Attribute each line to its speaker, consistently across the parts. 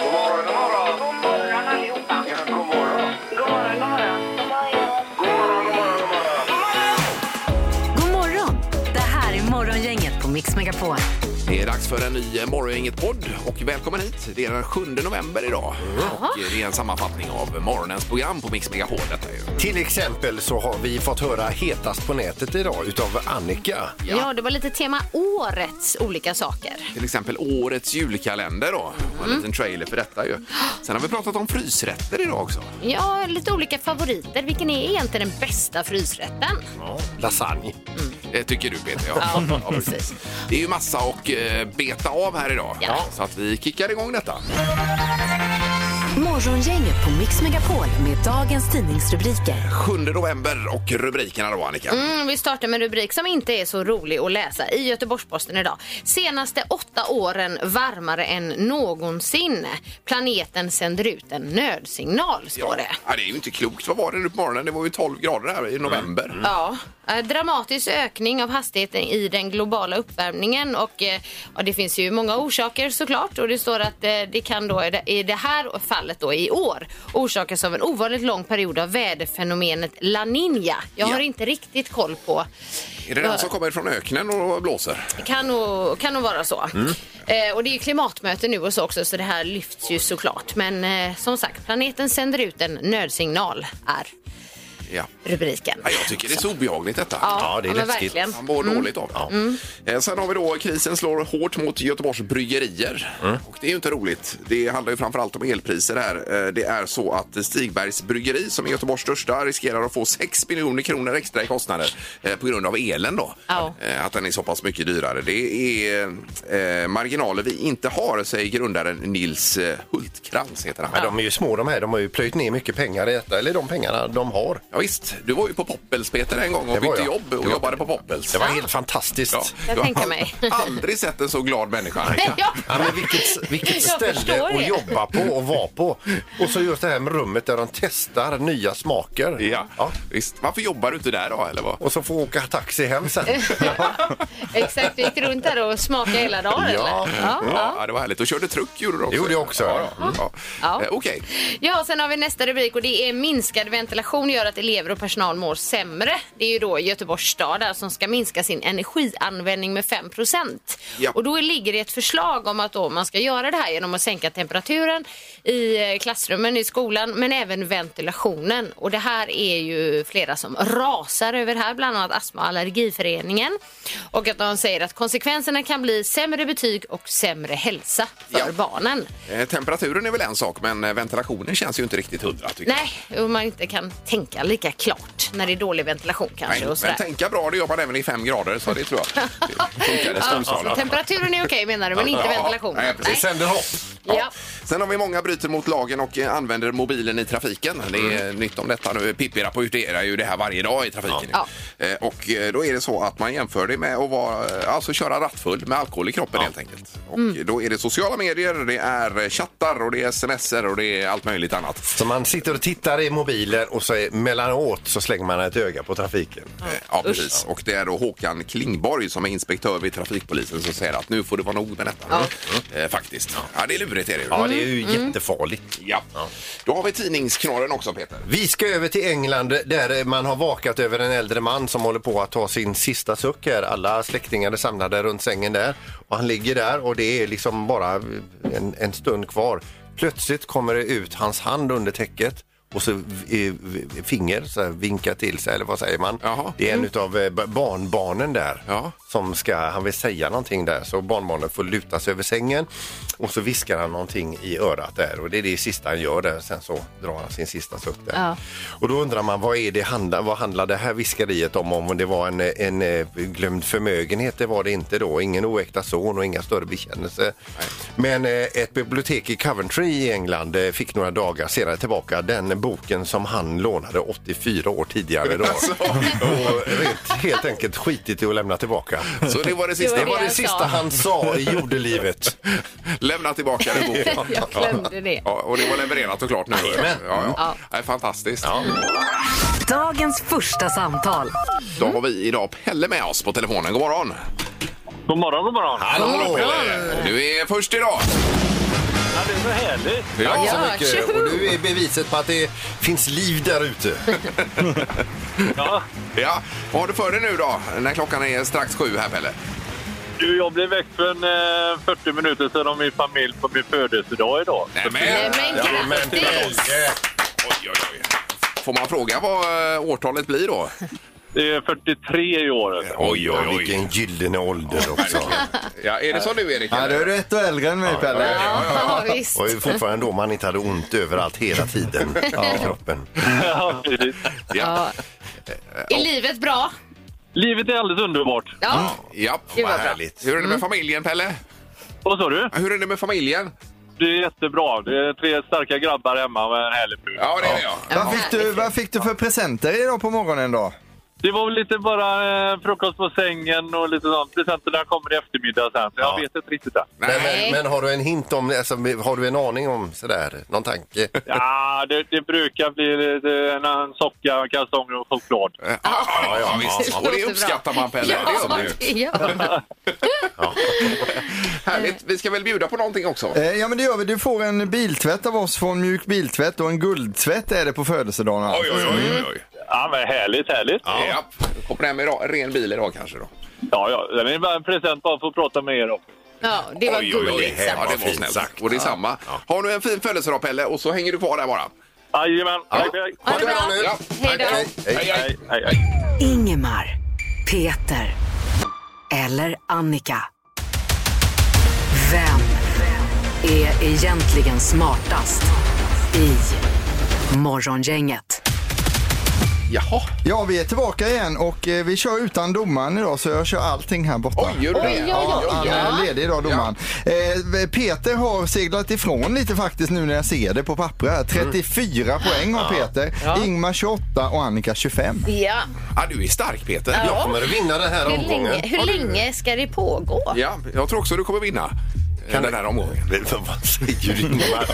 Speaker 1: God morgon, god morgon.
Speaker 2: God morgon allihopa.
Speaker 1: Ja, god morgon.
Speaker 2: God morgon, god morgon. God morgon.
Speaker 1: God morgon, god morgon, god morgon.
Speaker 3: God morgon! Det här är Morgongänget på Mix Megapol.
Speaker 4: Det är dags för en ny eh, Morgongänget-podd och välkommen hit. Det är den 7 november idag och eh, det är en sammanfattning av morgonens program på Mix Megapol. Detta är ju.
Speaker 5: Till exempel så har vi fått höra hetast på nätet idag utav Annika.
Speaker 6: Ja. det var lite tema årets olika saker.
Speaker 4: Till exempel årets julkalender då. Och
Speaker 6: Mm.
Speaker 4: en liten trailer för detta ju. Sen har vi pratat om frysrätter idag också.
Speaker 6: Ja, lite olika favoriter. Vilken är egentligen den bästa frysrätten?
Speaker 5: Lasagne.
Speaker 4: Det tycker du Peter.
Speaker 6: Ja, precis.
Speaker 4: Det är ju massa och eh, beta av här idag.
Speaker 6: Ja.
Speaker 4: Så att vi kickar igång detta.
Speaker 3: Morgongänget på Mix Megapol med dagens tidningsrubriker.
Speaker 4: 7 november och rubrikerna då Annika.
Speaker 6: Mm, vi startar med en rubrik som inte är så rolig att läsa i Göteborgs-Posten idag. Senaste åtta åren varmare än någonsin. Planeten sänder ut en nödsignal, står det.
Speaker 4: Ja, det är ju inte klokt. Vad var det nu på morgonen? Det var ju 12 grader här i november.
Speaker 6: Ja, eh, dramatisk ökning av hastigheten i den globala uppvärmningen och eh, ja, det finns ju många orsaker såklart och det står att eh, det kan då i det- i det här fallet då i år orsakas av en ovanligt lång period av väderfenomenet La Nina. Jag
Speaker 4: Ja.
Speaker 6: har inte riktigt koll på.
Speaker 4: Är det den som kommer från öknen och blåser?
Speaker 6: Det kan nog, kan nog vara så.
Speaker 4: Mm.
Speaker 6: Eh, och det är ju klimatmöte nu och så också så det här lyfts ju såklart. Men eh, som sagt, planeten sänder ut en nödsignal är
Speaker 4: Ja.
Speaker 6: rubriken.
Speaker 4: Ja, jag tycker det är så obehagligt detta.
Speaker 5: Ja, Mm. det är
Speaker 6: men
Speaker 5: läskigt.
Speaker 6: verkligen.
Speaker 4: Man mår dåligt av det. Eh, Sen har vi då krisen slår hårt mot Göteborgs bryggerier.
Speaker 5: Mm.
Speaker 4: Och det är ju inte roligt. Det handlar ju framförallt om elpriser här. Eh, Det är så att Stigbergs bryggeri som är Göteborgs största riskerar att få 6 miljoner kronor extra i kostnader eh, på grund av elen då.
Speaker 6: Ja.
Speaker 4: Eh, Att den är så pass mycket dyrare. Det är eh, marginaler vi inte har, säger grundaren Nils eh, Hultkrantz heter han.
Speaker 5: Men de är ju små de här. De har ju plöjt ner mycket pengar i detta. Eller de pengarna de har.
Speaker 4: Ja, visst, du var ju på Poppels Peter en gång och
Speaker 5: Det var
Speaker 4: bytte
Speaker 5: jag.
Speaker 4: jobb och
Speaker 5: Ja.
Speaker 4: jobbade på Poppels.
Speaker 5: Det var helt fantastiskt.
Speaker 4: Ja.
Speaker 5: Ja.
Speaker 6: Jag
Speaker 4: Du har
Speaker 6: tänker mig.
Speaker 4: aldrig sett en så glad människa. Annika.
Speaker 6: Ja.
Speaker 5: men vilket, vilket
Speaker 6: Jag
Speaker 5: ställe
Speaker 6: förstår det.
Speaker 5: att jobba på och vara på. Och så just det här med rummet där de testar nya smaker.
Speaker 4: Ja. Visst. Varför jobbar du inte där då? Eller vad?
Speaker 5: Och så får åka taxi hem sen.
Speaker 6: Exakt, du gick runt där och smakade hela dagen
Speaker 5: Ja.
Speaker 6: eller?
Speaker 4: Ja, det var härligt. Och körde truck gjorde du också.
Speaker 5: Det gjorde jag också.
Speaker 4: Ja, ja. Ja.
Speaker 6: Mm. Ja.
Speaker 4: Eh, Okej.
Speaker 6: Ja, sen har vi nästa rubrik och det är minskad ventilation gör att elever och personal mår sämre. Det är ju då Göteborgs stad där som ska minska sin energianvändning med 5
Speaker 4: Ja.
Speaker 6: Och då ligger det ett förslag om att då man ska göra det här genom att sänka temperaturen i eh, klassrummen i skolan men även ventilationen. Och det här är ju flera som rasar över det här, bland annat Astma och allergiföreningen. Och att de säger att konsekvenserna kan bli sämre betyg och sämre hälsa för
Speaker 4: Ja.
Speaker 6: barnen.
Speaker 4: Eh, Temperaturen är väl en sak, men eh, ventilationen känns ju inte riktigt hundra. Tycker jag.
Speaker 6: Nej, och man inte kan tänka lika klart när det är dålig ventilation kanske. och sådär.
Speaker 4: men tänka bra, det gör man även i fem grader, så det tror jag. Det funkar i
Speaker 6: Ja,
Speaker 4: skolsalen.
Speaker 6: temperaturen är okej menar du, men inte
Speaker 4: Ja,
Speaker 6: ventilationen.
Speaker 4: nej, precis.
Speaker 6: Nej.
Speaker 5: Sänder hopp.
Speaker 6: Ja.
Speaker 4: Sen har vi många bryter mot lagen och eh, använder mobilen i trafiken. Det är
Speaker 6: Mm.
Speaker 4: nytt om detta nu. Pippi rapporterar ju det här varje dag i trafiken.
Speaker 6: Ja.
Speaker 4: Eh, Och eh, då är det så att man jämför det med att vara, eh, alltså köra rattfull med alkohol i kroppen helt enkelt. Och
Speaker 6: Mm.
Speaker 4: då är det sociala medier, det är eh, chattar och det är sms'er och det är allt möjligt annat.
Speaker 5: Så man sitter och tittar i mobilen och så är, mellanåt så slänger man ett öga på trafiken.
Speaker 4: Eh, Ja, precis. Och det är då Håkan Klingborg som är inspektör vid trafikpolisen som säger att nu får det vara nog med detta. Eh, Faktiskt. Ja, det är lurigt är det ju.
Speaker 5: Ja, det är ju jättefarligt.
Speaker 4: Ja. Då har vi tidningsknorren också Peter.
Speaker 5: Vi ska över till England där man har vakat över en äldre man som håller på att ta sin sista suck här. Alla släktingar är samlade runt sängen där och han ligger där och det är liksom bara en, en stund kvar. Plötsligt kommer det ut hans hand under täcket och så eh, finger så här, vinkar till sig eller vad säger man?
Speaker 4: Jaha.
Speaker 5: Det är en utav av barnbarnen där
Speaker 4: Ja.
Speaker 5: som ska, han vill säga någonting där så barnbarnen får luta sig över sängen och så viskar han någonting i örat där och det är det sista han gör där sen så drar han sin sista suck där.
Speaker 6: Ja.
Speaker 5: Och då undrar man vad är det handla, vad handlar det här viskeriet om om det var en, en eh, glömd förmögenhet det var det inte då, ingen oäkta son och inga större bekännelser. Men eh, ett bibliotek i Coventry i England eh, fick några dagar senare tillbaka den boken som han lånade 84 år tidigare då.
Speaker 4: Alltså.
Speaker 5: och rent, helt enkelt skitit i att lämna tillbaka.
Speaker 4: Så det var det sista.
Speaker 5: Det
Speaker 6: Det
Speaker 5: var det
Speaker 6: jag
Speaker 5: sista
Speaker 6: sa.
Speaker 5: han sa i jordelivet.
Speaker 4: Lämna tillbaka den boken.
Speaker 6: Jag glömde det.
Speaker 4: Ja, och det var levererat och klart nu.
Speaker 5: Jajamän.
Speaker 4: Ja, ja. Det är fantastiskt.
Speaker 3: Dagens första samtal.
Speaker 4: Då har vi idag Pelle med oss på telefonen. God morgon!
Speaker 7: God morgon, god morgon.
Speaker 4: Hallå Pelle! Du är först idag.
Speaker 7: Ja, det är så härligt.
Speaker 5: Tack
Speaker 6: Ja,
Speaker 5: så mycket.
Speaker 6: tjoho!
Speaker 5: Och du är beviset på att det finns liv där ute.
Speaker 7: Ja.
Speaker 4: Ja, vad har du för dig nu då? När klockan är strax sju här Pelle.
Speaker 7: Du, jag blev väckt för en, eh, 40 minuter sedan av min familj på min födelsedag idag.
Speaker 6: Nej, men grattis!
Speaker 4: Oj, oj, oj. Får man fråga vad eh, årtalet blir då?
Speaker 7: Det är 43 i år.
Speaker 4: Oj, oj, oj.
Speaker 5: Vilken gyllene ålder också.
Speaker 4: Ja, är det som du Erik?
Speaker 8: Ja, du är ett och äldre än mig, Pelle.
Speaker 6: Ja, visst.
Speaker 5: Och fortfarande då man inte hade ont överallt hela tiden i kroppen.
Speaker 7: Ja, precis.
Speaker 6: Ja. Är livet bra?
Speaker 7: Livet är alldeles underbart.
Speaker 4: Mm.
Speaker 6: Ja.
Speaker 4: Ja,
Speaker 6: Det
Speaker 4: vad
Speaker 6: var Mm. bra.
Speaker 4: härligt. Hur är det med familjen Pelle?
Speaker 7: Vad sa du?
Speaker 4: Hur är det med familjen?
Speaker 7: Det är jättebra. Det är tre starka grabbar hemma med en härlig fru.
Speaker 4: Ja, det är det ja.
Speaker 8: Vad fick, du, vad fick du för presenter idag på morgonen då?
Speaker 7: Det var väl lite bara eh, frukost på sängen och lite sånt. Presenterna kommer i eftermiddag sen. Så jag
Speaker 5: Ja.
Speaker 7: vet inte riktigt än.
Speaker 5: Men, men, men har du en hint om, alltså, har du en aning om sådär, någon tanke?
Speaker 7: Ja, det, det brukar bli lite, en, en socka, kalsonger och choklad.
Speaker 4: Ja, ja, ja, visst. Och det
Speaker 6: låter
Speaker 4: uppskattar
Speaker 6: bra.
Speaker 4: man Pelle.
Speaker 6: Ja,
Speaker 4: Det gör man ju.
Speaker 6: det gör man.
Speaker 4: Härligt. Vi ska väl bjuda på någonting också?
Speaker 8: Eh, ja, men det gör vi. Du får en biltvätt av oss från Mjuk Biltvätt och en guldtvätt är det på födelsedagen. alltså.
Speaker 4: Oj, oj, oj. oj.
Speaker 7: Ja, men härligt, härligt.
Speaker 4: Ja. Ja. Kommer hem med ra- ren bil idag kanske då?
Speaker 7: Ja, ja. Det är bara en present bara för att prata med er om.
Speaker 6: Ja, det var gulligt.
Speaker 5: här
Speaker 4: Ja,
Speaker 5: var
Speaker 4: det var
Speaker 5: fint
Speaker 4: snällt.
Speaker 5: sagt.
Speaker 4: Och det är samma. Ha nu en fin födelsedag Pelle och så hänger du kvar där bara.
Speaker 7: Jajamän. Tack,
Speaker 6: Ha
Speaker 7: tack.
Speaker 6: det bra.
Speaker 4: Ja.
Speaker 6: Hej då.
Speaker 5: Okej, hej.
Speaker 4: Hej, hej.
Speaker 7: Hej, hej, hej.
Speaker 3: Ingemar, Peter eller Annika. Vem är egentligen smartast i Morgongänget?
Speaker 4: Jaha.
Speaker 8: Ja, vi är tillbaka igen och eh, vi kör utan domaren idag så jag kör allting här borta.
Speaker 4: Oj, gör du det?
Speaker 6: Oj, oj, oj.
Speaker 8: Han är ledig idag, domaren. Eh, Peter har seglat ifrån lite faktiskt nu när jag ser det på papper här.
Speaker 4: Mm.
Speaker 8: 34 poäng har Peter, Ingmar 28 och Annika 25.
Speaker 6: Ja.
Speaker 4: Ja, du är stark Peter.
Speaker 5: Jag kommer att vinna den här
Speaker 6: Hur
Speaker 5: omgången.
Speaker 6: länge, hur länge ska det pågå?
Speaker 4: Ja, jag tror också du kommer vinna eh, den här omgången.
Speaker 5: Vad säger du Ingmar?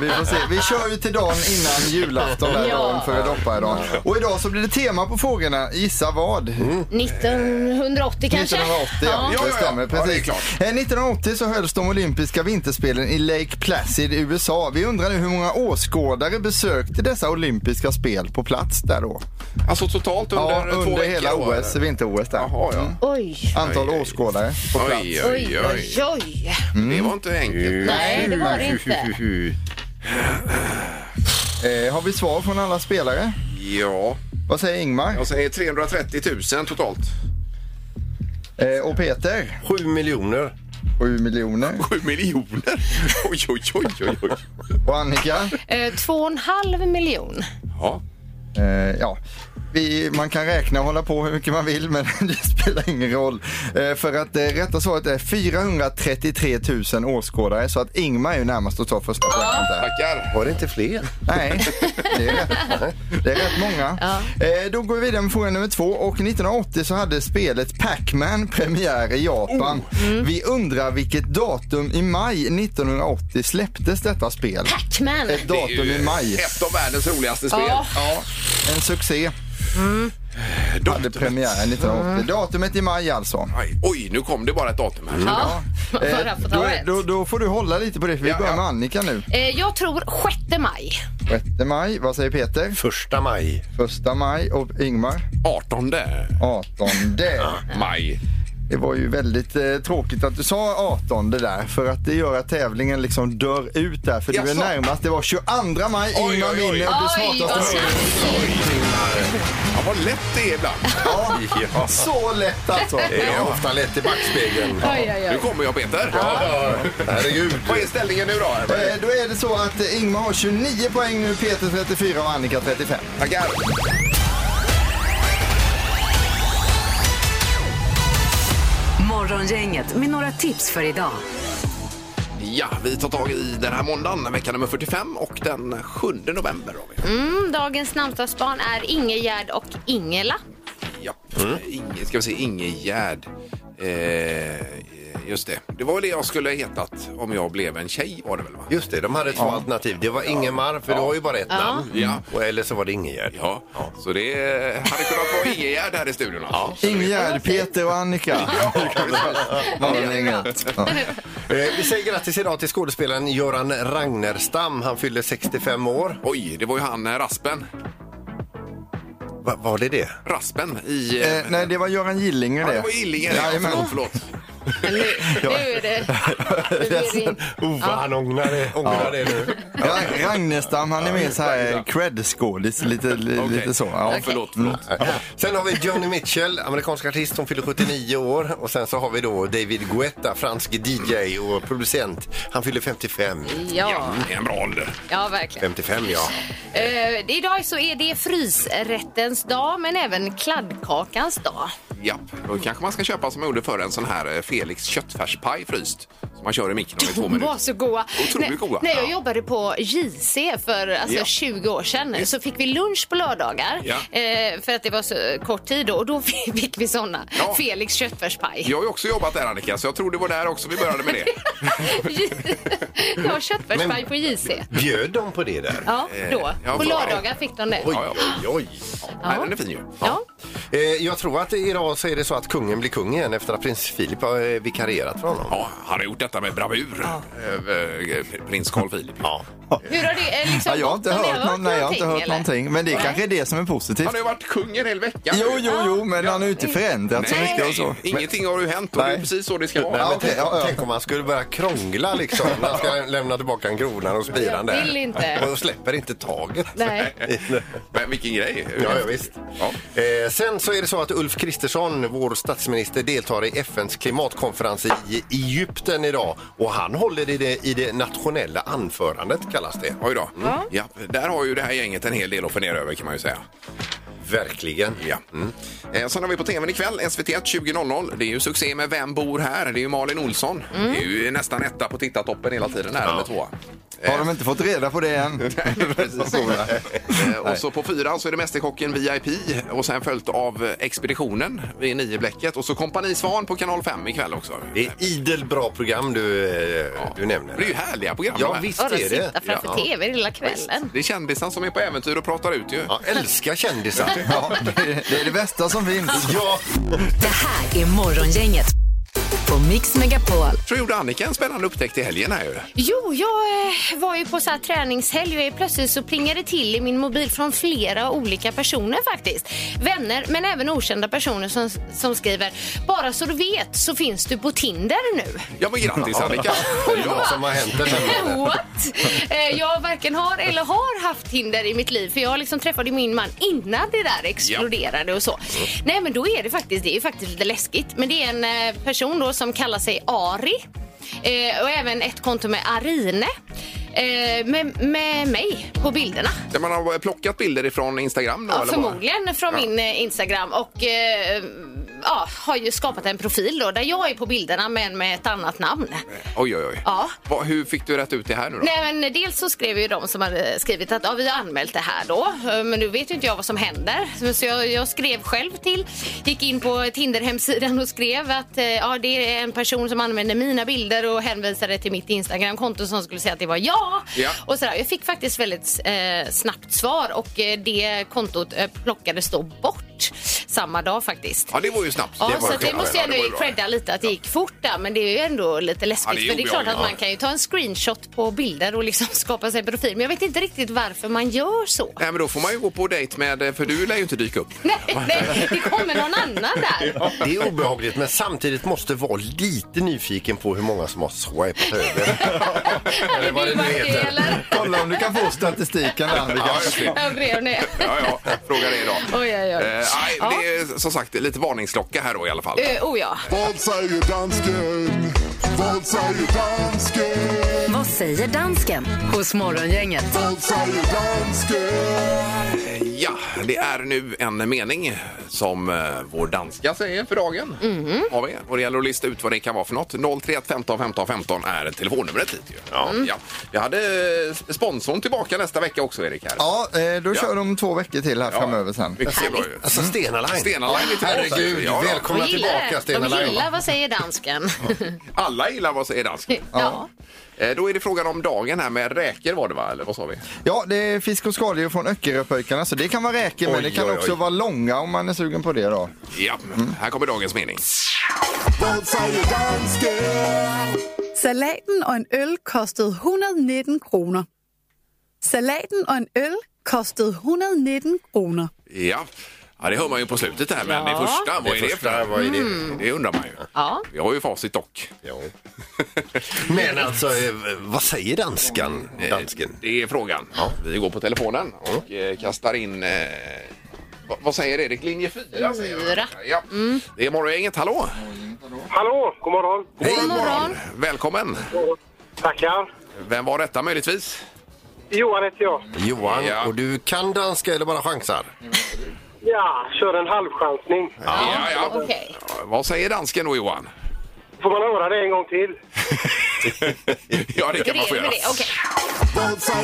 Speaker 8: Vi får se. Vi kör ju till dagen innan julafton där
Speaker 6: Ja.
Speaker 8: dagen före dopparedagen. Och idag så blir det tema på frågorna. Gissa vad?
Speaker 6: Mm. 1980 kanske?
Speaker 8: 1980, ja.
Speaker 4: Ja, ja,
Speaker 8: Det
Speaker 4: ja.
Speaker 8: stämmer.
Speaker 4: Ja, det är
Speaker 8: Precis.
Speaker 4: klart.
Speaker 8: Eh, 1980 så hölls de olympiska vinterspelen i Lake Placid i USA. Vi undrar nu hur många åskådare besökte dessa olympiska spel på plats där då?
Speaker 4: Alltså totalt under
Speaker 8: ja,
Speaker 4: två
Speaker 8: under
Speaker 4: veckor
Speaker 8: hela
Speaker 4: då, eller?
Speaker 8: OS, vinter-OS där.
Speaker 4: Jaha, ja.
Speaker 6: Oj,
Speaker 8: Antal
Speaker 4: Oj, oj.
Speaker 8: åskådare Mm. på plats. Mm.
Speaker 4: Oj,
Speaker 6: oj,
Speaker 4: oj, oj.
Speaker 6: oj, oj.
Speaker 4: Det var inte enkelt.
Speaker 6: Nej, det var det inte.
Speaker 8: Eh, har vi svar från alla spelare?
Speaker 4: Ja,
Speaker 8: Vad säger Ingmar?
Speaker 4: jag säger 330 000 totalt.
Speaker 8: Eh, och Peter?
Speaker 5: Sju miljoner.
Speaker 8: 7 miljoner.
Speaker 4: 7 miljoner! Oj, oj, oj, oj, oj.
Speaker 8: Och Annika?
Speaker 6: Eh, Två och en halv miljon.
Speaker 4: Ja.
Speaker 8: Eh, ja. Vi, man kan räkna och hålla på hur mycket man vill, men det spelar ingen roll. Eh, för att eh, rätta svaret är 433 000 åskådare, så att Ingmar är ju närmast att ta första poängen där.
Speaker 4: Tackar.
Speaker 5: Var det inte fler?
Speaker 8: Nej, det är rätt, det är rätt många. Eh, då går vi vidare med fråga nummer två. Och 1980 så hade spelet Pac-Man premiär i Japan.
Speaker 4: Oh. Mm.
Speaker 8: Vi undrar vilket datum i maj 1980 släpptes detta spel?
Speaker 6: Pac-Man.
Speaker 8: Ett
Speaker 4: Det är
Speaker 8: datum
Speaker 4: ju
Speaker 8: i maj.
Speaker 4: Ett av världens roligaste spel.
Speaker 6: Ja.
Speaker 8: Ja, en succé. Hade premiären 1980.
Speaker 4: Mm.
Speaker 8: Datumet i maj alltså. Eh,
Speaker 4: Aj, Oj, nu kom det bara ett datum här.
Speaker 6: Ja, bara för att
Speaker 8: då,
Speaker 6: ta
Speaker 8: är-
Speaker 6: ett.
Speaker 8: då, då får du hålla lite på det, för vi
Speaker 4: Ja,
Speaker 8: börjar
Speaker 4: ja.
Speaker 8: med Annika nu.
Speaker 6: Eh, Jag tror 6 maj.
Speaker 8: 6 maj, vad säger Peter?
Speaker 5: Första maj.
Speaker 8: 1 maj och Ingmar?
Speaker 4: 18
Speaker 8: 18.
Speaker 4: maj.
Speaker 8: Det var ju väldigt eh, tråkigt att du sa 18 det där för att det gör att tävlingen liksom dör ut där för du är
Speaker 4: Jaså?
Speaker 8: närmast. Det var 22 maj,
Speaker 4: Oj,
Speaker 8: Ingmar
Speaker 4: oj, oj.
Speaker 8: vinner och blir
Speaker 6: Oj, vad
Speaker 8: smartast. av er.
Speaker 6: snabbt.
Speaker 4: Ja, vad lätt det är ibland.
Speaker 5: Ja.
Speaker 8: Så lätt alltså.
Speaker 5: Det är ofta lätt i backspegeln.
Speaker 6: Oj, oj,
Speaker 4: Nu
Speaker 6: oj.
Speaker 4: kommer jag, Peter.
Speaker 5: Herregud.
Speaker 4: Vad är ställningen nu då?
Speaker 8: Eh, Då är det så att eh, Ingmar har 29 poäng nu, Peter 34 och Annika 35.
Speaker 4: Tackar.
Speaker 3: Morgongänget med några tips för idag.
Speaker 4: Ja, vi tar tag i den här måndagen, vecka nummer 45 och den 7 november. Har vi.
Speaker 6: Mm, Dagens namnsdagsbarn är Ingegärd och Ingela.
Speaker 4: Ja. Inge, ska vi se, Ingegärd. Eh, eh, Just det. Det var väl det jag skulle ha hetat om jag blev en tjej var det väl va?
Speaker 5: Just det, de hade två alternativ. Det var Ingemar, för du har ju bara ett namn.
Speaker 4: Ja.
Speaker 5: Och eller så var det Ingegärd.
Speaker 4: Ja. Så det hade kunnat vara Ingegärd här i studion alltså.
Speaker 8: Ingegärd, Peter och Annika. Var det länge. Ja.
Speaker 5: Eh, vi säger grattis idag till skådespelaren Göran Ragnerstam. Han fyller 65 år.
Speaker 4: Oj, det var ju han eh, Raspen.
Speaker 5: Va, var det det?
Speaker 4: Raspen i...
Speaker 8: Eh, nej, det var Göran Gillinger
Speaker 4: Ja,
Speaker 8: det.
Speaker 4: det var Illinger.
Speaker 8: Jajamän.
Speaker 4: Förlåt, förlåt.
Speaker 6: Men nu, nu är det... Nu blir det...
Speaker 5: Oh, vad han ångrar det, ångrar det nu.
Speaker 8: Ja, Ragnestam, han är mer så här cred-skådis, lite, li-
Speaker 4: Okej.
Speaker 8: lite så. Ja. Mm.
Speaker 4: Ja, förlåt, förlåt.
Speaker 5: Sen har vi Joni Mitchell, amerikansk artist som fyller 79 år. Och sen så har vi då David Guetta, fransk DJ och producent. Han fyller 55.
Speaker 6: Ja,
Speaker 4: Det är en bra ålder.
Speaker 6: ja, verkligen.
Speaker 5: 55 ja.
Speaker 6: Eh, idag så är det frysrättens dag, men även kladdkakans dag.
Speaker 4: Ja, då kanske man ska köpa som jag gjorde förr en sån här eh, Felix köttfärspaj fryst. Som man kör i mikron i två
Speaker 6: De
Speaker 4: minuter.
Speaker 6: var så goa.
Speaker 4: Otroligt
Speaker 6: när,
Speaker 4: goda.
Speaker 6: När jag
Speaker 4: Ja.
Speaker 6: jobbade på JC för alltså,
Speaker 4: Ja.
Speaker 6: 20 år sedan så fick vi lunch på lördagar
Speaker 4: Ja.
Speaker 6: eh, för att det var så kort tid då, och då fick vi såna.
Speaker 4: Ja.
Speaker 6: Felix köttfärspaj.
Speaker 4: Jag har ju också jobbat där Annika, så jag tror det var där också vi började med det.
Speaker 6: ja, köttfärspaj
Speaker 5: Men-
Speaker 6: på JC.
Speaker 5: Bjöd de på det där?
Speaker 6: Ja, då.
Speaker 4: Eh, ja,
Speaker 6: på
Speaker 4: bra.
Speaker 6: lördagar fick de det.
Speaker 5: Oj,
Speaker 4: Ja,
Speaker 5: oj, oj.
Speaker 4: Nej, den är fin ju.
Speaker 6: Ja.
Speaker 5: Eh, jag tror att idag så är det så att kungen blir kung igen efter att prins Philip har eh, vikarierat för honom.
Speaker 4: Ja, han har gjort detta med bravur, eh, eh, prins Carl Philip.
Speaker 5: Ja.
Speaker 6: Hur har det eh, liksom
Speaker 8: Ja, jag har
Speaker 6: gått?
Speaker 8: inte hört, någon, nej, jag har inte hört
Speaker 6: eller?
Speaker 8: någonting, men det
Speaker 6: Nej.
Speaker 8: kanske är det som är positivt.
Speaker 4: Han har ju varit kung en hel vecka.
Speaker 8: Jo, jo, jo, men han har ju inte förändrat så
Speaker 4: Nej,
Speaker 8: mycket och så.
Speaker 4: ingenting har ju hänt och det är
Speaker 8: Nej.
Speaker 4: precis så det ska vara.
Speaker 5: Nej, men
Speaker 8: okej,
Speaker 5: tänk,
Speaker 8: ja, ja.
Speaker 5: tänk om han skulle börja krångla liksom. När han ska lämna tillbaka en krona och spiran
Speaker 6: Jag
Speaker 5: där.
Speaker 6: vill inte.
Speaker 5: Och släpper inte taget.
Speaker 6: Nej.
Speaker 4: Men vilken grej!
Speaker 5: Ja, ja, visst.
Speaker 4: Ja.
Speaker 5: Eh, sen så är det så att Ulf Kristersson, vår statsminister, deltar i FNs klimatkonferens i Egypten idag. Och han håller i det, i det nationella anförandet, kallas det.
Speaker 4: Oj då. Ja, där har ju det här gänget en hel del att fundera över kan man ju säga.
Speaker 5: Verkligen.
Speaker 4: Ja. Eh, Sen har vi på tvn ikväll, SVT1 20.00. Det är ju succé med Vem bor här? Det är ju Malin Olsson. Det är ju nästan etta på tittartoppen hela tiden här, eller tvåa.
Speaker 8: Har de inte fått reda på det än?
Speaker 4: Eh, Och så på fyran så är det Mästerkocken VIP och sen följt av eh, Expeditionen vid nio bläcket och så Kompani Svan på kanal 5 ikväll också.
Speaker 5: Det är idel bra program du, eh, du nämner.
Speaker 4: Det är ju härliga program. de
Speaker 5: Ja,
Speaker 4: här.
Speaker 5: visst
Speaker 6: Ja, de
Speaker 5: är det.
Speaker 6: sitter framför
Speaker 5: Ja.
Speaker 6: tv hela kvällen.
Speaker 4: Det är kändisar som är på äventyr och pratar ut ju.
Speaker 5: Ja, älskar kändisar.
Speaker 8: Ja, det är- det är det bästa som finns.
Speaker 5: ja.
Speaker 3: Det här är Morgongänget på Mix Megapol.
Speaker 4: Jag tror jag gjorde Annika en spännande upptäckt i helgen här ju.
Speaker 6: Jo, jag eh, var ju på så här träningshelg och helt plötsligt så plingade det till i min mobil från flera olika personer faktiskt. Vänner, men även okända personer som, som skriver “Bara så du vet så finns du på Tinder nu”.
Speaker 4: Ja men grattis Annika!
Speaker 5: Det är vad som har hänt där hemma.
Speaker 6: What? Eh, Jag varken har eller har haft Tinder i mitt liv för jag liksom träffade min man innan det där exploderade och så. Nej men då är det faktiskt, det är ju faktiskt lite läskigt. Men det är en eh, person då som kallar sig Ari eh, och även ett konto med Arine. eh, Med, med mig på bilderna.
Speaker 4: Där man har plockat bilder ifrån Instagram då?
Speaker 6: Ja,
Speaker 4: eller vad?
Speaker 6: förmodligen från min eh, Instagram och eh, ja, har ju skapat en profil då, där jag är på bilderna men med ett annat namn.
Speaker 4: Oj, oj, oj.
Speaker 6: Ja.
Speaker 4: Va, hur fick du rätt ut det här nu då?
Speaker 6: Nej, men dels så skrev ju de som hade skrivit att ja, vi har anmält det här då, Eh, men nu vet ju inte jag vad som händer. Så- Så jag, jag skrev själv till, gick in på Tinder-hemsidan och skrev att eh, ja, det är en person som använder mina bilder och hänvisade till mitt Instagram-konto som skulle säga att det var jag.
Speaker 4: Ja.
Speaker 6: Och sådär. Jag fick faktiskt väldigt eh, snabbt svar och eh, det kontot eh, plockades då bort samma dag faktiskt.
Speaker 4: Ja, det var ju snabbt.
Speaker 6: Ja,
Speaker 4: var
Speaker 6: så
Speaker 4: ju
Speaker 6: att det
Speaker 4: bra.
Speaker 6: måste jag
Speaker 4: Ja, det var ju
Speaker 6: ändå
Speaker 4: bra.
Speaker 6: credda lite att det gick fort där. Men det är ju ändå lite läskigt.
Speaker 4: Ja, det är
Speaker 6: för det är klart att
Speaker 4: obehagligt,
Speaker 6: man kan ju ta en screenshot på bilder och liksom skapa sig en profil. Men jag vet inte riktigt varför man gör så.
Speaker 4: Nej, men då får man ju gå på dejt med, för du lär ju inte dyka upp.
Speaker 6: Nej, nej, det kommer någon annan där.
Speaker 5: Det är obehagligt men samtidigt måste vara lite nyfiken på hur många som har swipat över.
Speaker 6: Hade
Speaker 5: vad det
Speaker 6: du
Speaker 5: nu
Speaker 6: varit det
Speaker 5: heter.
Speaker 6: eller?
Speaker 8: Kolla om du kan få statistiken där, Annika.
Speaker 4: Ja, just det.
Speaker 6: Jag drev ner.
Speaker 4: ja, ja, fråga det idag.
Speaker 6: Oj, oj, oj.
Speaker 4: Eh, nej,
Speaker 6: Ja.
Speaker 4: Det är som sagt lite varningsklocka här då i alla fall.
Speaker 6: Eh, oh ja.
Speaker 3: Vad säger dansken hos Morgongänget.
Speaker 4: Ja, det är nu en mening som eh, vår danska säger för dagen.
Speaker 6: Mhm.
Speaker 4: Har vi. Och det gäller att lista ut vad det kan vara för något. 031 15 15 15 är telefonnumret hit ju. Ja. Ja. Vi hade eh, sponsorn tillbaka nästa vecka också, Erik. Här.
Speaker 8: Ja, eh, då kör de två veckor till här
Speaker 4: Ja.
Speaker 8: framöver sen.
Speaker 4: Mycket bra ju.
Speaker 5: Alltså Stena Line.
Speaker 4: Stena Line är tillbaka.
Speaker 5: Herregud,
Speaker 4: Ja, ja.
Speaker 5: välkomna
Speaker 6: De gillar
Speaker 5: tillbaka
Speaker 6: det.
Speaker 5: Stena
Speaker 6: De
Speaker 5: Line.
Speaker 6: gillar vad säger dansken.
Speaker 4: Alla gillar vad säger dansk.
Speaker 6: ja.
Speaker 4: Eh, Då är det frågan om dagen här med räkor var det va? Eller vad sa vi?
Speaker 8: Ja, det är fisk och skaldjur från Öckeröpöjkarna så det kan vara räkor men
Speaker 5: Oj,
Speaker 8: det kan
Speaker 5: oj,
Speaker 8: också
Speaker 5: oj.
Speaker 8: vara långa om man är sugen på det då.
Speaker 4: Ja, här kommer dagens mening.
Speaker 9: Salaten og en øl kostede 119 kroner. Salaten og en øl kostede 119 kroner.
Speaker 4: Ja. ja, det hör man ju på slutet här. Men
Speaker 6: Ja.
Speaker 4: det första, vad är Mm. det för
Speaker 5: Första, vad är det?
Speaker 4: Det undrar man ju.
Speaker 6: Mm. Ja.
Speaker 4: Vi har ju facit dock.
Speaker 5: Jo. Men alltså, eh, vad säger danskan? Dansken?
Speaker 4: Det är frågan. Vi går på telefonen och eh, kastar in... Eh, vad- vad säger Erik? Linje 4 säger vi.
Speaker 6: Fyra. Mm.
Speaker 4: Ja. Det är morgongänget. Hallå!
Speaker 7: Hallå, god morgon.
Speaker 4: Hej!
Speaker 6: God morgon.
Speaker 4: Välkommen!
Speaker 7: Tackar.
Speaker 4: Vem var detta möjligtvis?
Speaker 7: Johan heter jag.
Speaker 5: Johan,
Speaker 4: Ja.
Speaker 5: och du kan danska eller bara chansar?
Speaker 7: Ja, kör en halvchansning.
Speaker 4: Ja, ja.
Speaker 6: Okej.
Speaker 4: Vad säger dansken då Johan?
Speaker 7: Får man höra det en gång till?
Speaker 4: ja, det kan man få
Speaker 6: Hur är det
Speaker 4: göra.
Speaker 6: med det? Okej.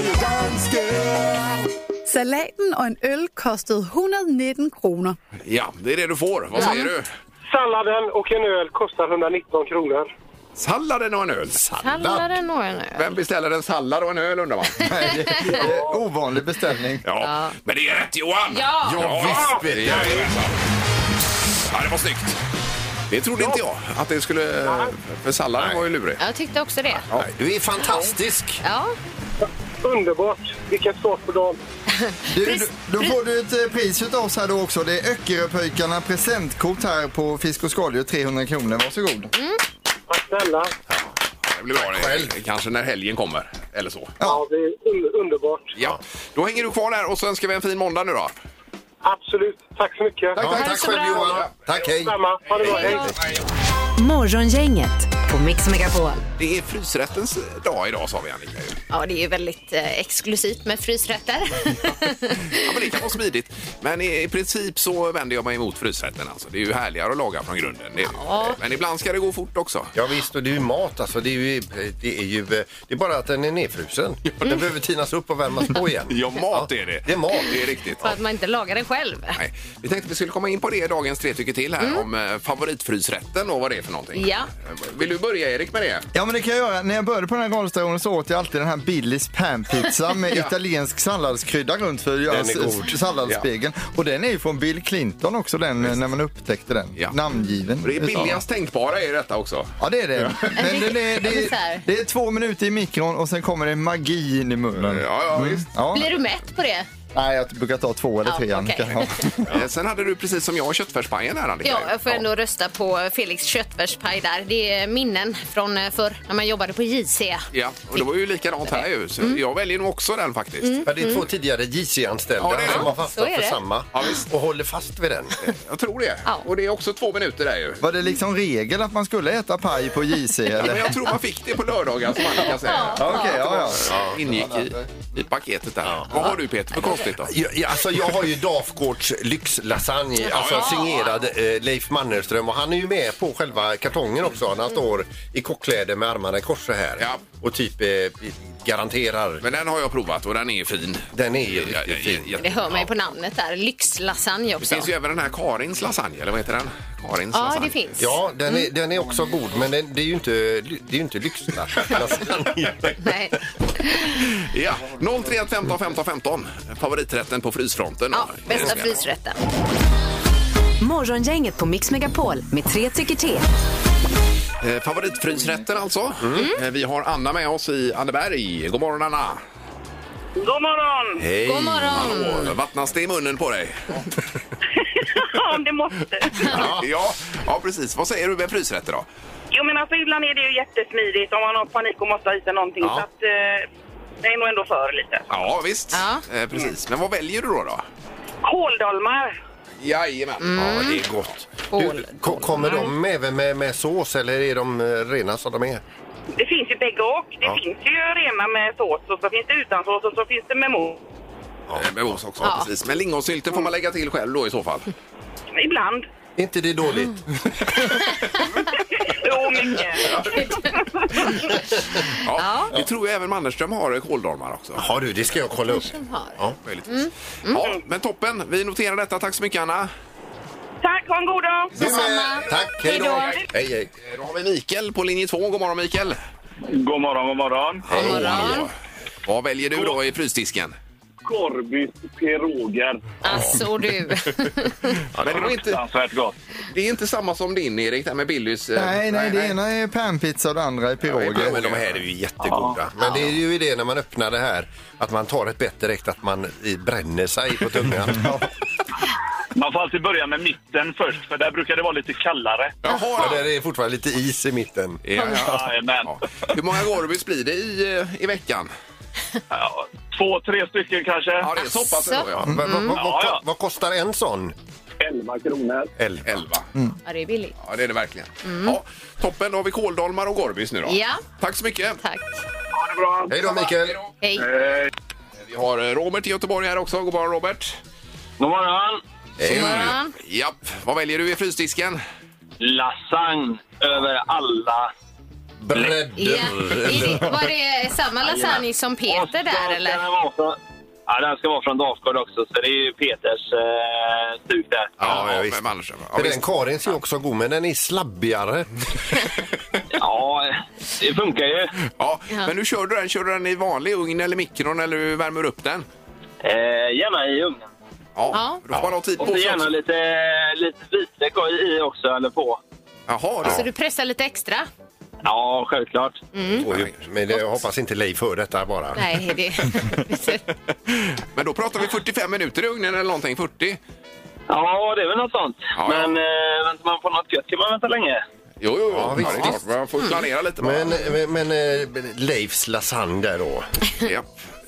Speaker 9: Salaten og en øl kostede 119 kroner.
Speaker 4: Ja, det är det du får. Vad säger du?
Speaker 7: Salladen och en öl kostar 119 kronor.
Speaker 4: Salladen och en öl.
Speaker 6: Kallar den några nu?
Speaker 4: Vem beställer en sallad och en öl undrar man?
Speaker 8: Nej, det, det är ovanlig beställning.
Speaker 4: Ja, men det är rätt Johan!
Speaker 6: Ja.
Speaker 5: Ja, visst vet jag.
Speaker 4: Jajamensan. Ja, det var snyggt. Det trodde inte jag att det skulle... För salladen var ju lurig.
Speaker 6: Jag tyckte också det.
Speaker 5: Nej, Du är fantastisk!
Speaker 6: Ja.
Speaker 7: Underbart! Vilken start på dagen.
Speaker 8: Du, du, då får du ett eh, pris utav oss här då också. Det är Öckeröpöjkarna presentkort här på fisk och skaldjur 300 kronor. Varsågod.
Speaker 7: Tack snälla.
Speaker 4: Det blir bra det. Kanske när helgen kommer. Eller så.
Speaker 7: Ja, det är un- underbart.
Speaker 4: Ja, då hänger du kvar där och så önskar vi en fin måndag nu då.
Speaker 7: Absolut. Tack så mycket.
Speaker 5: Ja,
Speaker 6: det
Speaker 5: tack
Speaker 6: så
Speaker 5: själv
Speaker 6: bra.
Speaker 5: Johan. Tack, hej!
Speaker 7: Samma. Ha det bra. Hej.
Speaker 3: Morgongänget på Mix Megapol.
Speaker 4: Det är frysrättens dag idag sa vi Annika. ju.
Speaker 6: Ja, det är ju väldigt eh, exklusivt med frysrätter.
Speaker 4: Ja, men det kan vara smidigt. Men i i princip så vänder jag mig emot frysrätten alltså. Det är ju härligare att laga från grunden. Det är,
Speaker 6: Ja.
Speaker 4: Men ibland ska det gå fort också.
Speaker 5: Ja visst, och det är ju mat alltså. Det är ju, det är ju eh, det är bara att den är nedfrusen. Den behöver tinas upp och värmas på igen.
Speaker 4: Ja, mat är det.
Speaker 5: Det är mat.
Speaker 4: Det är riktigt.
Speaker 6: För att man inte lagar den själv.
Speaker 4: Nej. Vi tänkte att vi skulle komma in på det i dagens tre tycker till här om eh, favoritfrysrätten och vad det är för någonting.
Speaker 6: Mm. Ja.
Speaker 4: Eh, Vill du börja Erik med det?
Speaker 8: Ja men det kan jag göra. När jag började på den här radiostationen så åt jag alltid den här Billys panpizza med italiensk salladskrydda runt för att göra
Speaker 5: Den är
Speaker 8: s-
Speaker 5: god.
Speaker 8: s- salladspegeln. Och den är ju från Bill Clinton också den eh, när man upptäckte den.
Speaker 4: Ja.
Speaker 8: Namngiven.
Speaker 4: Det är billigast tänkbara är detta också.
Speaker 8: Ja det är det. Men den är, det,
Speaker 6: Alltså Så här.
Speaker 8: är, det är två minuter i mikron och sen kommer det magi in i munnen. Mm.
Speaker 4: Ja, ja visst.
Speaker 8: Ja.
Speaker 6: Blir du mätt på det?
Speaker 8: Nej, jag brukar ta två eller
Speaker 6: Ja,
Speaker 8: tre Annika.
Speaker 6: okej.
Speaker 8: Ja.
Speaker 4: Eh, Sen hade du precis som jag köttfärspajen här Annika.
Speaker 6: Ja, jag får ändå rösta på Felix köttfärspaj där. Det är minnen från eh, förr när man jobbade på JC.
Speaker 4: Ja, och det var ju likadant här ju. Så
Speaker 6: Mm.
Speaker 4: Jag väljer nog också den faktiskt.
Speaker 5: Men det är två tidigare
Speaker 4: Mm. Ja,
Speaker 5: JC-anställda
Speaker 4: det är det.
Speaker 5: som har
Speaker 6: Så
Speaker 5: fastnat
Speaker 6: är
Speaker 5: för
Speaker 6: det.
Speaker 5: samma och håller fast vid den.
Speaker 4: Jag tror det.
Speaker 6: Ja.
Speaker 4: Och det är också två minuter där ju.
Speaker 8: Var det liksom regel att man skulle äta paj på JC?
Speaker 4: Men
Speaker 8: Eller?
Speaker 4: jag tror man fick det på lördagar som Annika säger.
Speaker 8: Ja, Okej, ja,
Speaker 4: Ingick i, i paketet där. Vad har du Peter för konstigt då?
Speaker 5: Ja, ja, alltså jag har ju Dafgårds lyxlasagne, alltså signerad eh, Leif Mannerström och han är ju med på själva kartongen också. Han står i kockkläder med armarna i kors så här
Speaker 4: Mm. Ja.
Speaker 5: och typ eh, garanterar.
Speaker 4: Men den har jag provat och den är fin.
Speaker 5: Den är ju
Speaker 4: Ja, ja,
Speaker 5: riktigt fin.
Speaker 4: ja, ja.
Speaker 6: Det hör man ju på namnet där. Lyxlasagne också.
Speaker 4: Det finns ju även den här Karins lasagne, eller vad heter den? Karins
Speaker 6: Ja,
Speaker 4: lasagne.
Speaker 6: det finns.
Speaker 5: Ja, den
Speaker 4: Mm.
Speaker 5: är, den är också god, men den, det är ju inte, det är ju inte lyxlasagne.
Speaker 6: Nej.
Speaker 4: Ja, 031 15 15 15. Favoriträtten på frysfronten.
Speaker 6: Ja, bästa
Speaker 4: Eh,
Speaker 6: frysrätten.
Speaker 3: Morgongänget på Mix Megapol med tre tycker till.
Speaker 4: eh, Favoritfrysrätten alltså.
Speaker 6: Mm.
Speaker 4: Eh, Vi har Anna med oss i Anneberg. God morgon Anna!
Speaker 2: God morgon!
Speaker 4: Hej!
Speaker 6: God morgon.
Speaker 4: Hallå. Vattnas det i munnen på dig?
Speaker 2: Ja, det måste.
Speaker 4: Ja. ja, precis. Vad säger du med frysrätter då?
Speaker 2: Jo, men alltså ibland är det ju jättesmidigt om man har panik och måste ha i sig någonting.
Speaker 4: Ja.
Speaker 2: Så att, eh, det är nog ändå för lite.
Speaker 4: Ja, visst.
Speaker 6: Ja.
Speaker 4: Eh, precis. Men vad väljer du då? då?
Speaker 2: Kåldolmar.
Speaker 4: Jajamän.
Speaker 5: Ja, det
Speaker 6: Mm.
Speaker 5: är gott.
Speaker 6: Skål.
Speaker 4: Mm.
Speaker 5: Du, ko- kommer de även med, med sås eller är de eh, rena som de är?
Speaker 2: Det finns ju bägge och. Det
Speaker 5: Ja.
Speaker 2: finns ju rena med sås och så finns det utan sås och så finns det med mos.
Speaker 4: Eh, Med oss också,
Speaker 6: Ja.
Speaker 4: precis. Men lingonsylten får man lägga till själv då i så fall.
Speaker 2: Ibland.
Speaker 5: Är inte det dåligt?
Speaker 4: Mm.
Speaker 2: Jo, mycket.
Speaker 4: Ja. Det tror jag även Mannerström har eh, kåldolmar också.
Speaker 5: Har du, det ska jag kolla upp.
Speaker 6: Som har.
Speaker 4: Ja, möjligtvis. Ja, men toppen. Vi noterar detta. Tack så mycket, Anna.
Speaker 2: Tack, ha en god dag!
Speaker 6: Detsamma.
Speaker 5: Tack, hej då!
Speaker 6: Hej
Speaker 5: Hej, hej.
Speaker 4: Eh, Då har vi Mikael på linje 2. God morgon, Mikael.
Speaker 7: God morgon, god morgon.
Speaker 4: Hej.
Speaker 6: morgon.
Speaker 4: Vad väljer du då i frysdisken?
Speaker 7: Korbys piroger.
Speaker 6: Alltså du.
Speaker 4: Men det, var inte,
Speaker 7: Fruktansvärt gott.
Speaker 4: det är inte samma som din, Erik, där med Billys... eh,
Speaker 8: Nej, nej, det ena är panpizza och det andra är
Speaker 5: Ja,
Speaker 8: piroger.
Speaker 5: men de här är ju jättegoda. Men det är ju i det när man öppnar det här, att man tar ett bett direkt, att man i- bränner sig på tungan.
Speaker 7: Man får alltid börja med mitten först, för där brukar det vara lite kallare.
Speaker 4: Jaha,
Speaker 5: Och
Speaker 4: då.
Speaker 5: där är fortfarande lite is i mitten.
Speaker 4: Ja, ja.
Speaker 7: Jajamän.
Speaker 4: Ja. Hur många Gorbys blir det i, eh, i veckan?
Speaker 7: Ja, Två, tre stycken kanske.
Speaker 4: Ja, det är så pass ändå, ja.
Speaker 5: Vad- vad- vad-
Speaker 7: Ja, ja.
Speaker 5: Vad kostar en sån?
Speaker 7: 11 kronor.
Speaker 5: Elva.
Speaker 4: Elva. Mm.
Speaker 6: Ja, det är billigt.
Speaker 4: Ja, det är det verkligen. Ja, toppen, då har vi kåldolmar och Gorbys nu då.
Speaker 6: Ja.
Speaker 4: Tack så mycket.
Speaker 6: Tack.
Speaker 7: Ha det bra.
Speaker 5: Hej då, Mikael!
Speaker 4: Eh,
Speaker 6: Hej.
Speaker 4: Vi har eh, Robert i Göteborg här också. God morgon, Robert.
Speaker 7: God morgon.
Speaker 6: God morgon.
Speaker 4: Eh, Japp. Vad väljer du i frysdisken?
Speaker 7: Lasagne över alla.
Speaker 6: Ja.
Speaker 5: Bredder!
Speaker 6: Är det, var det samma lasagne som Peter där
Speaker 7: Den
Speaker 6: eller?
Speaker 7: vara från, ja, den ska vara från Dalsgård också, så det är ju Peters eh, stuk där.
Speaker 5: Ja, ja, visst.
Speaker 4: med Mannerström. Ja,
Speaker 5: För
Speaker 4: visst.
Speaker 5: den Karins är ju också god, men den är slabbigare.
Speaker 7: Ja, det funkar ju.
Speaker 4: Ja, men nu kör du den. Kör du den i vanlig ugn eller mikron eller hur värmer du upp den?
Speaker 7: Eh, gärna i ugnen.
Speaker 4: Ja,
Speaker 6: Ja.
Speaker 4: då får man ha tid på
Speaker 7: Och så
Speaker 4: sig
Speaker 7: gärna
Speaker 4: också.
Speaker 7: lite, lite vitlök i också, eller på.
Speaker 4: Jaha, då.
Speaker 6: Så du pressar lite extra?
Speaker 7: Ja, självklart.
Speaker 4: Mm.
Speaker 5: Och ju- Men jag hoppas inte Leif hör detta bara.
Speaker 6: Nej, det...
Speaker 4: Men då pratar vi 45 minuter i ugnen eller någonting. 40?
Speaker 7: Ja, det är väl något sånt.
Speaker 4: Ja, ja.
Speaker 7: Men eh, väntar man på något gött kan man vänta länge.
Speaker 4: Jo, jo, jo. Ja,
Speaker 5: visst, Mm.
Speaker 4: det är klart. Man får planera lite. bara.
Speaker 5: Men, men, men eh, Leifs lasagne där då?
Speaker 4: Ja.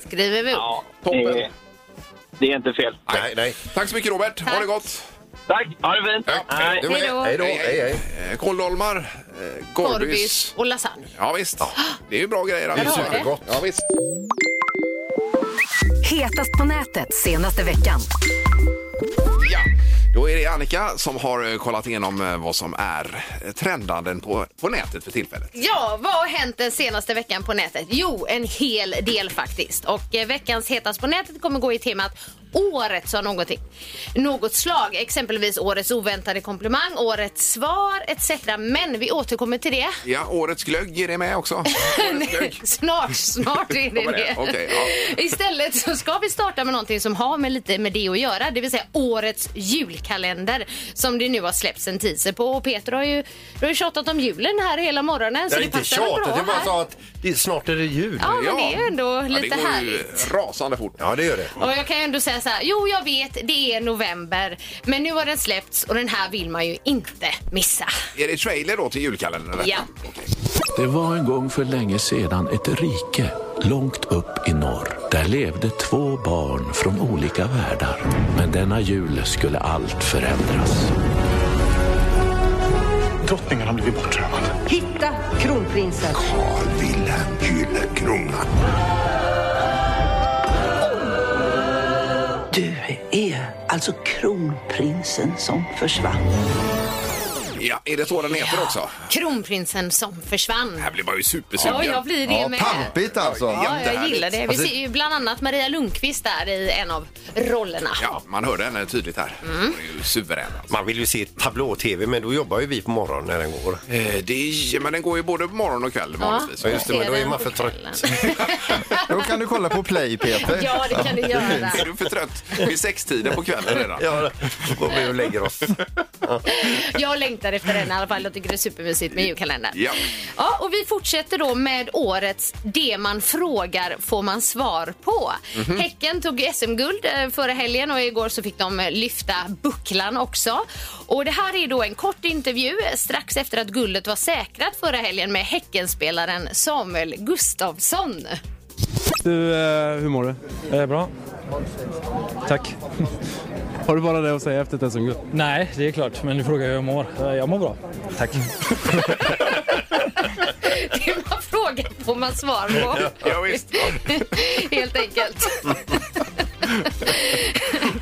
Speaker 6: Skriver vi upp.
Speaker 7: Ja,
Speaker 4: Toppen.
Speaker 7: Det, det är inte fel.
Speaker 5: Nej, nej.
Speaker 4: Tack så mycket, Robert. Ha det gott.
Speaker 7: Tack, ha det fint! Hej.
Speaker 5: Du med.
Speaker 6: Hej då.
Speaker 5: Hej då.
Speaker 4: Hej, hej.
Speaker 5: Hej, hej.
Speaker 4: Eh, Kåldolmar, eh,
Speaker 6: Gorbys
Speaker 4: Gorbys.
Speaker 6: och lasagne.
Speaker 4: Ja, visst. Det är ju bra grejer.
Speaker 5: Det är
Speaker 4: allihop.
Speaker 6: Ja, det.
Speaker 5: supergott.
Speaker 4: Ja, visst.
Speaker 3: Hetast på nätet senaste veckan.
Speaker 4: Ja. Då är det Annika som har eh, kollat igenom eh, vad som är eh, trendanden på, på nätet för tillfället.
Speaker 6: Ja, vad har hänt den senaste veckan på nätet? Jo, en hel del faktiskt. Och eh, veckans hetast på nätet kommer gå i temat året som någonting. Något slag, exempelvis årets oväntade komplimang, årets svar etc. Men vi återkommer till det.
Speaker 4: Ja, årets glögg är det med också. Årets glögg.
Speaker 6: Snart, snart är det
Speaker 4: Kommer det?
Speaker 6: det.
Speaker 4: Okej, ja.
Speaker 6: Istället så ska vi starta med någonting som har med lite med det att göra, det vill säga årets julkalender som det nu har släppts en teaser på. Och Peter har ju, du har ju tjatat om julen här hela morgonen.
Speaker 5: Det
Speaker 6: så
Speaker 5: är
Speaker 6: det
Speaker 5: inte
Speaker 6: passar väl bra
Speaker 5: tjatet, jag bara
Speaker 6: här.
Speaker 5: sa att det, snart är det jul.
Speaker 6: Ja, men det är ju ändå
Speaker 4: Ja,
Speaker 6: lite
Speaker 4: det går ju
Speaker 6: härligt.
Speaker 4: rasande fort.
Speaker 5: Ja, det gör det.
Speaker 6: Och jag kan ju ändå säga så här, jo jag vet det är november, men nu har den släppts och den här vill man ju inte missa.
Speaker 4: Är det trailer då till julkalendern? detta?
Speaker 6: Ja.
Speaker 4: Okej.
Speaker 10: Det var en gång för länge sedan ett rike långt upp i norr. Där levde två barn från olika världar. Men denna jul skulle allt förändras.
Speaker 11: Drottningen har blivit bortrövad.
Speaker 3: Hitta kronprinsen.
Speaker 11: Carl Wilhelm Gyllenkrona.
Speaker 12: Du är alltså kronprinsen som försvann.
Speaker 4: Ja, är det så den heter också?
Speaker 6: Kronprinsen som försvann.
Speaker 4: Här blir man ju supersugen.
Speaker 6: Ja, jag blir det
Speaker 8: Ja,
Speaker 6: med.
Speaker 8: pampigt alltså.
Speaker 6: Ja, jag gillar det. Vi
Speaker 5: Alltså-
Speaker 6: ser ju bland annat Maria Lundqvist där i en av rollerna.
Speaker 4: Ja, man hörde henne tydligt här.
Speaker 6: Mm.
Speaker 4: Hon är ju suverän. Alltså.
Speaker 5: Man vill ju se tablå-tv, men då jobbar ju vi på morgonen när den går.
Speaker 4: Eh, Det är, men den går ju både på morgon och kväll vanligtvis.
Speaker 5: Ja, just det, men då är man för
Speaker 6: Ser den på
Speaker 5: trött.
Speaker 6: kvällen.
Speaker 8: Då kan du kolla på Play, Peter.
Speaker 6: Ja, det kan du göra.
Speaker 4: Är du för trött vid sextiden på kvällen redan?
Speaker 5: Ja, då går vi och lägger oss.
Speaker 6: Jag längtar efter den i alla fall. Jag tycker det är supermysigt med julkalendern.
Speaker 4: Ja.
Speaker 6: Ja, och vi fortsätter då med årets Det man frågar får man svar på.
Speaker 5: Mhm.
Speaker 6: Häcken tog SM-guld eh, förra helgen och igår så fick de eh, lyfta bucklan också. Och det här är då en kort intervju eh, strax efter att guldet var säkrat förra helgen med Häckenspelaren Samuel Gustafsson.
Speaker 10: Du, hur mår du? Är Eh, bra. Tack. Har du bara det att säga efter Eh, ett SM-guld? Nej, det är klart. Men du frågar hur jag mår. Jag mår bra. Tack.
Speaker 6: Det man fråga får man svar på.
Speaker 4: Ja, visst.
Speaker 6: Helt enkelt.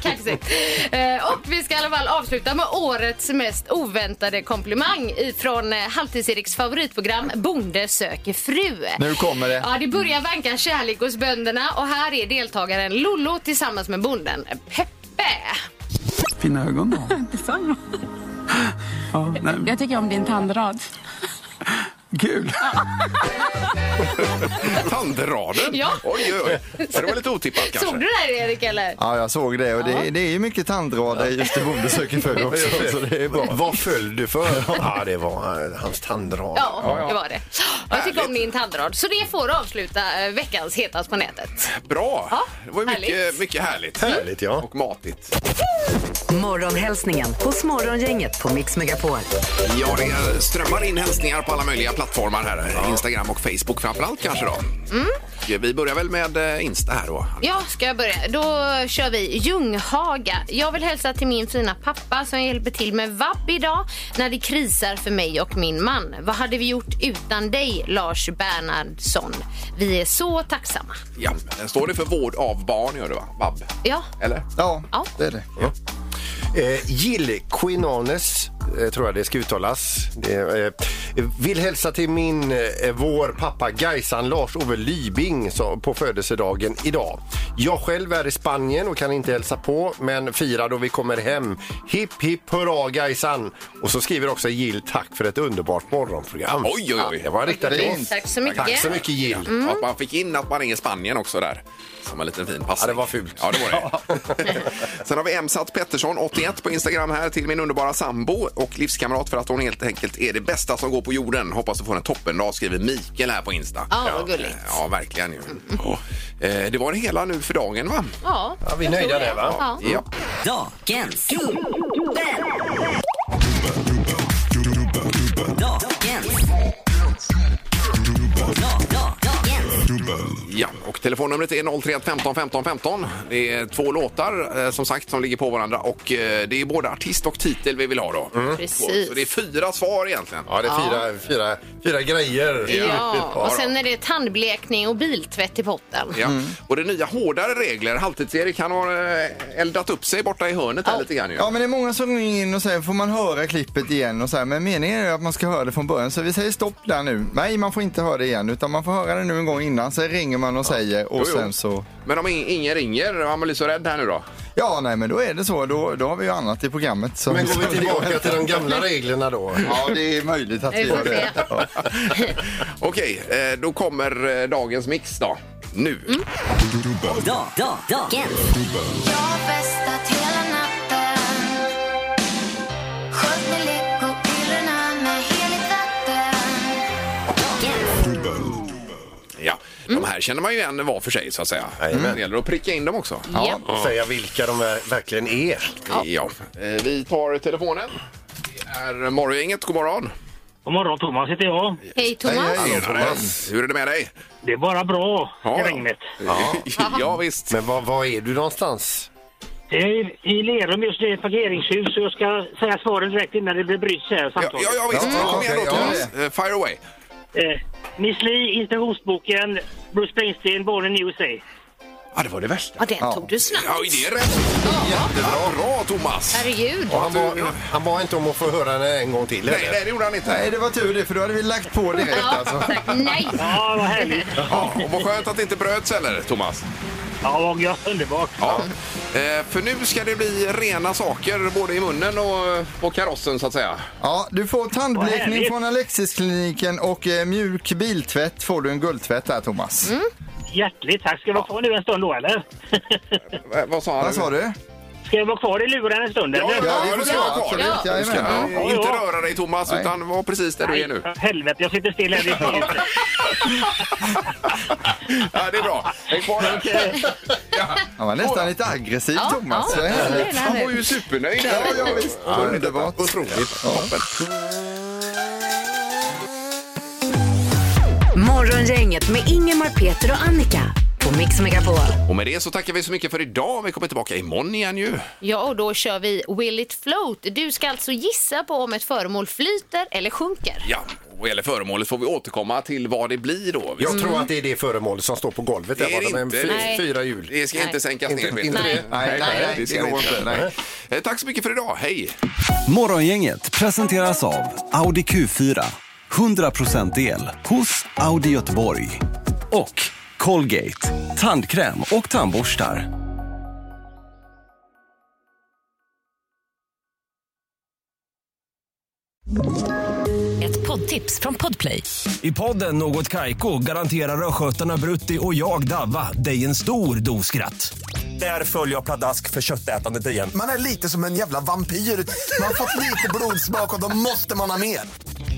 Speaker 6: Kaxigt. Eh, Och vi ska i alla fall avsluta med årets mest oväntade komplimang ifrån eh, Halvtids-Eriks favoritprogram Bonde söker fru.
Speaker 8: Nu kommer det.
Speaker 6: Ja, det börjar vanka kärlek hos bönderna och här är deltagaren Lollo tillsammans med bonden Peppe.
Speaker 13: Fina ögon då.
Speaker 14: Detsamma.
Speaker 13: Ja, nej,
Speaker 14: Jag tycker om din tandrad.
Speaker 13: kul.
Speaker 4: Tandraden?
Speaker 6: Ja.
Speaker 4: Oj, oj, oj. Det var lite otippat kanske.
Speaker 6: Såg du det här Erik eller?
Speaker 8: Ja, jag såg det och det, det är ju mycket tandrader just i Bonde söker fru också. Så det är bra.
Speaker 5: Vad föll du för? ja, det var eh, hans tandrad.
Speaker 6: Ja, det var det. Jag tycker om din tandrad. Så det får avsluta eh, veckans Hetast på nätet.
Speaker 4: Bra! det var ju mycket,
Speaker 6: härligt.
Speaker 4: mycket härligt. Härligt, ja. Och matigt.
Speaker 3: Morgonhälsningen hos Morgongänget på Mix Megapol.
Speaker 4: Ja, det strömmar in hälsningar på alla möjliga plattformar här. Instagram och Facebook framförallt kanske då.
Speaker 6: Mm.
Speaker 4: Vi börjar väl med eh, Insta här då.
Speaker 6: Ja, ska jag börja? Då kör vi Ljunghaga. Jag vill hälsa till min fina pappa som hjälper till med vabb idag när det krisar för mig och min man. Vad hade vi gjort utan dig, Lars Bernhardsson? Vi är så tacksamma.
Speaker 4: Ja, den står det för vård av barn gör det va? Vab.
Speaker 6: Ja,
Speaker 4: Eller?
Speaker 8: Ja,
Speaker 5: det är det. Eh, Jill Quinones, eh, tror jag det ska uttalas. Det, eh, vill hälsa till min, eh, vår pappa Gaisan Lars-Ove Lybing som, på födelsedagen idag. Jag själv är i Spanien och kan inte hälsa på, men firar då vi kommer hem. Hipp hipp hurra Gaisan! Och så skriver också Jill tack för ett underbart morgonprogram.
Speaker 4: Oj, oj, oj.
Speaker 5: Ja, det var riktat till oss.
Speaker 6: Tack så mycket. Mm.
Speaker 5: Tack så mycket Jill.
Speaker 4: Ja, att man fick in att man är i Spanien också där. Som en liten fin passning. Ja, det var fult. Ja, det var det. Sen har vi Emsat Pettersson, 81, på Instagram här till min underbara sambo och livskamrat för att hon helt enkelt är det bästa som går på jorden. Hoppas du får en toppendag, skriver Mikael här på Insta.
Speaker 6: Ja, vad gulligt. Mm.
Speaker 4: Ja, verkligen ju. Ja. Eh, Det var det hela nu för dagen, va?
Speaker 6: Ja,
Speaker 4: vi är
Speaker 6: jag
Speaker 4: nöjda
Speaker 6: tror
Speaker 4: där, va?
Speaker 6: Ja.
Speaker 4: Ja.
Speaker 3: Dagens Dagens
Speaker 4: Ja, och telefonnumret är 031 15 15 15. Det är två låtar eh, som sagt som ligger på varandra och eh, det är både artist och titel vi vill ha då.
Speaker 6: Mm. Precis.
Speaker 4: Så det är fyra svar egentligen.
Speaker 5: Ja, det är fyra, fyra, fyra grejer.
Speaker 6: Ja, och sen är det tandblekning och biltvätt i potten.
Speaker 4: Ja.
Speaker 8: Mm.
Speaker 4: Och det är nya hårdare regler. Halvtids-Erik han har eh, eldat upp sig borta i hörnet här lite grann ju.
Speaker 8: Ja, men det är många som ringer in och säger får man höra klippet igen och så här, men meningen är ju att man ska höra det från början så vi säger stopp där nu. Nej, man får inte höra det igen utan man får höra det nu en gång innan, sen ringer man och säger och
Speaker 4: Jo, jo.
Speaker 8: sen så...
Speaker 4: Men om in- ingen ringer, han blir så rädd här nu då?
Speaker 8: Ja, nej, men då är det så. Då, då har vi ju annat i programmet. som-
Speaker 5: Men går vi tillbaka till de gamla reglerna då?
Speaker 8: Ja, det är möjligt att vi gör det. Ja.
Speaker 4: Okej, eh, då kommer eh, dagens mix då. Nu.
Speaker 8: Mm.
Speaker 4: Ja,
Speaker 8: Mm.
Speaker 4: de här känner man ju igen var för sig så att säga. Mm. Det gäller att pricka in dem också.
Speaker 5: Ja. Och säga vilka de är- verkligen är.
Speaker 4: Ja. Eh, Vi tar telefonen. Det är Morgongänget, god morgon.
Speaker 15: God morgon, Thomas heter jag.
Speaker 6: Hej Thomas.
Speaker 5: Alltså,
Speaker 4: Thomas. Hur är det med dig?
Speaker 15: Det är bara bra
Speaker 4: Ja,
Speaker 15: i
Speaker 4: ja.
Speaker 15: regnet.
Speaker 4: Ja. ja, visst.
Speaker 5: Men var, var är du någonstans?
Speaker 15: Jag är i Lerum just nu i ett parkeringshus så jag ska säga svaren direkt innan det blir bryts här
Speaker 4: Ja, ja, ja visst. Kom igen då, Thomas. Eh, Fire away.
Speaker 15: Eh, Miss Li, instruktionsboken, Bruce Springsteen, Born in USA.
Speaker 4: Ja, det var det värsta.
Speaker 6: Ja, den tog du snabbt.
Speaker 4: Ja, det är rätt. Jättebra. Bra, Thomas.
Speaker 6: Herregud.
Speaker 5: Och han, var, han var inte om att få höra det en gång till?
Speaker 4: Nej, nej, det gjorde han inte.
Speaker 8: Nej, det var tur det, för då hade vi lagt på direkt alltså.
Speaker 6: Nej.
Speaker 15: Ja, vad härligt.
Speaker 4: Ja, och vad skönt att det inte bröts heller, Thomas.
Speaker 15: Ja, vad gött, underbart.
Speaker 4: Ja. Eh, för nu ska det bli rena saker både i munnen och på karossen så att säga.
Speaker 8: Ja, du får
Speaker 4: Vad härligt.
Speaker 8: tandblekning från Alexiskliniken och eh, mjuk biltvätt får du en guldtvätt där, Thomas.
Speaker 15: Hjärtligt tack. Ska jag vara kvar nu en stund då, eller?
Speaker 4: Eh, vad sa
Speaker 8: Vad sa du?
Speaker 15: Ska jag vara kvar i luren en stund, eller?
Speaker 8: ja, det ska jag ha kvar. Ja.
Speaker 4: Du ska
Speaker 8: Jajamän.
Speaker 4: eh, inte röra dig Thomas utan var precis där du är nu.
Speaker 15: Nej, Helvete, jag sitter still här. Det är fel.
Speaker 4: Ja, det är bra. Häng kvar där.
Speaker 8: Han var nästan lite aggressiv,
Speaker 4: Ja,
Speaker 8: Thomas.
Speaker 4: ja,
Speaker 8: Vad
Speaker 4: det är
Speaker 8: härligt.
Speaker 4: det. Han var ju supernöjd.
Speaker 8: Ja, ja, visst.
Speaker 4: Ja,
Speaker 8: Underbart.
Speaker 4: Otroligt. Toppen.
Speaker 3: Morgongänget med Ingemar, Peter och Annika på Mix Megapol.
Speaker 4: Och med det så tackar vi så mycket för idag. Vi kommer tillbaka imorgon igen ju.
Speaker 6: Ja, och då kör vi Will it float. Du ska alltså gissa på om ett föremål flyter eller sjunker.
Speaker 4: Ja, Vad gäller föremålet får vi återkomma till vad det blir då. Vi-
Speaker 5: Jag tror att det är det föremålet som står på golvet.
Speaker 4: Det
Speaker 5: där,
Speaker 4: är
Speaker 5: va?
Speaker 4: det
Speaker 5: De
Speaker 4: inte.
Speaker 5: fy-
Speaker 4: Nej.
Speaker 5: Fyra hjul.
Speaker 4: Det ska inte sänkas
Speaker 5: Inte-
Speaker 4: ner. Peter.
Speaker 5: inte det? Nej. Nej, nej, nej,
Speaker 4: det
Speaker 5: det
Speaker 4: ska
Speaker 5: går
Speaker 4: inte.
Speaker 5: inte. Nej.
Speaker 4: Eh, Tack så mycket för idag. Hej!
Speaker 15: Morgongänget presenteras av Audi Q4. 100% el hos Audi Göteborg. Och Colgate, tandkräm och tandborstar.
Speaker 3: Ett poddtips från Podplay.
Speaker 16: I podden Något Kaiko garanterar östgötarna Brutti och jag, Davva, dig en stor dos skratt. Där följer jag pladask för köttätandet igen.
Speaker 8: Man är lite som en jävla vampyr. Man har fått lite blodsmak och då måste man ha mer.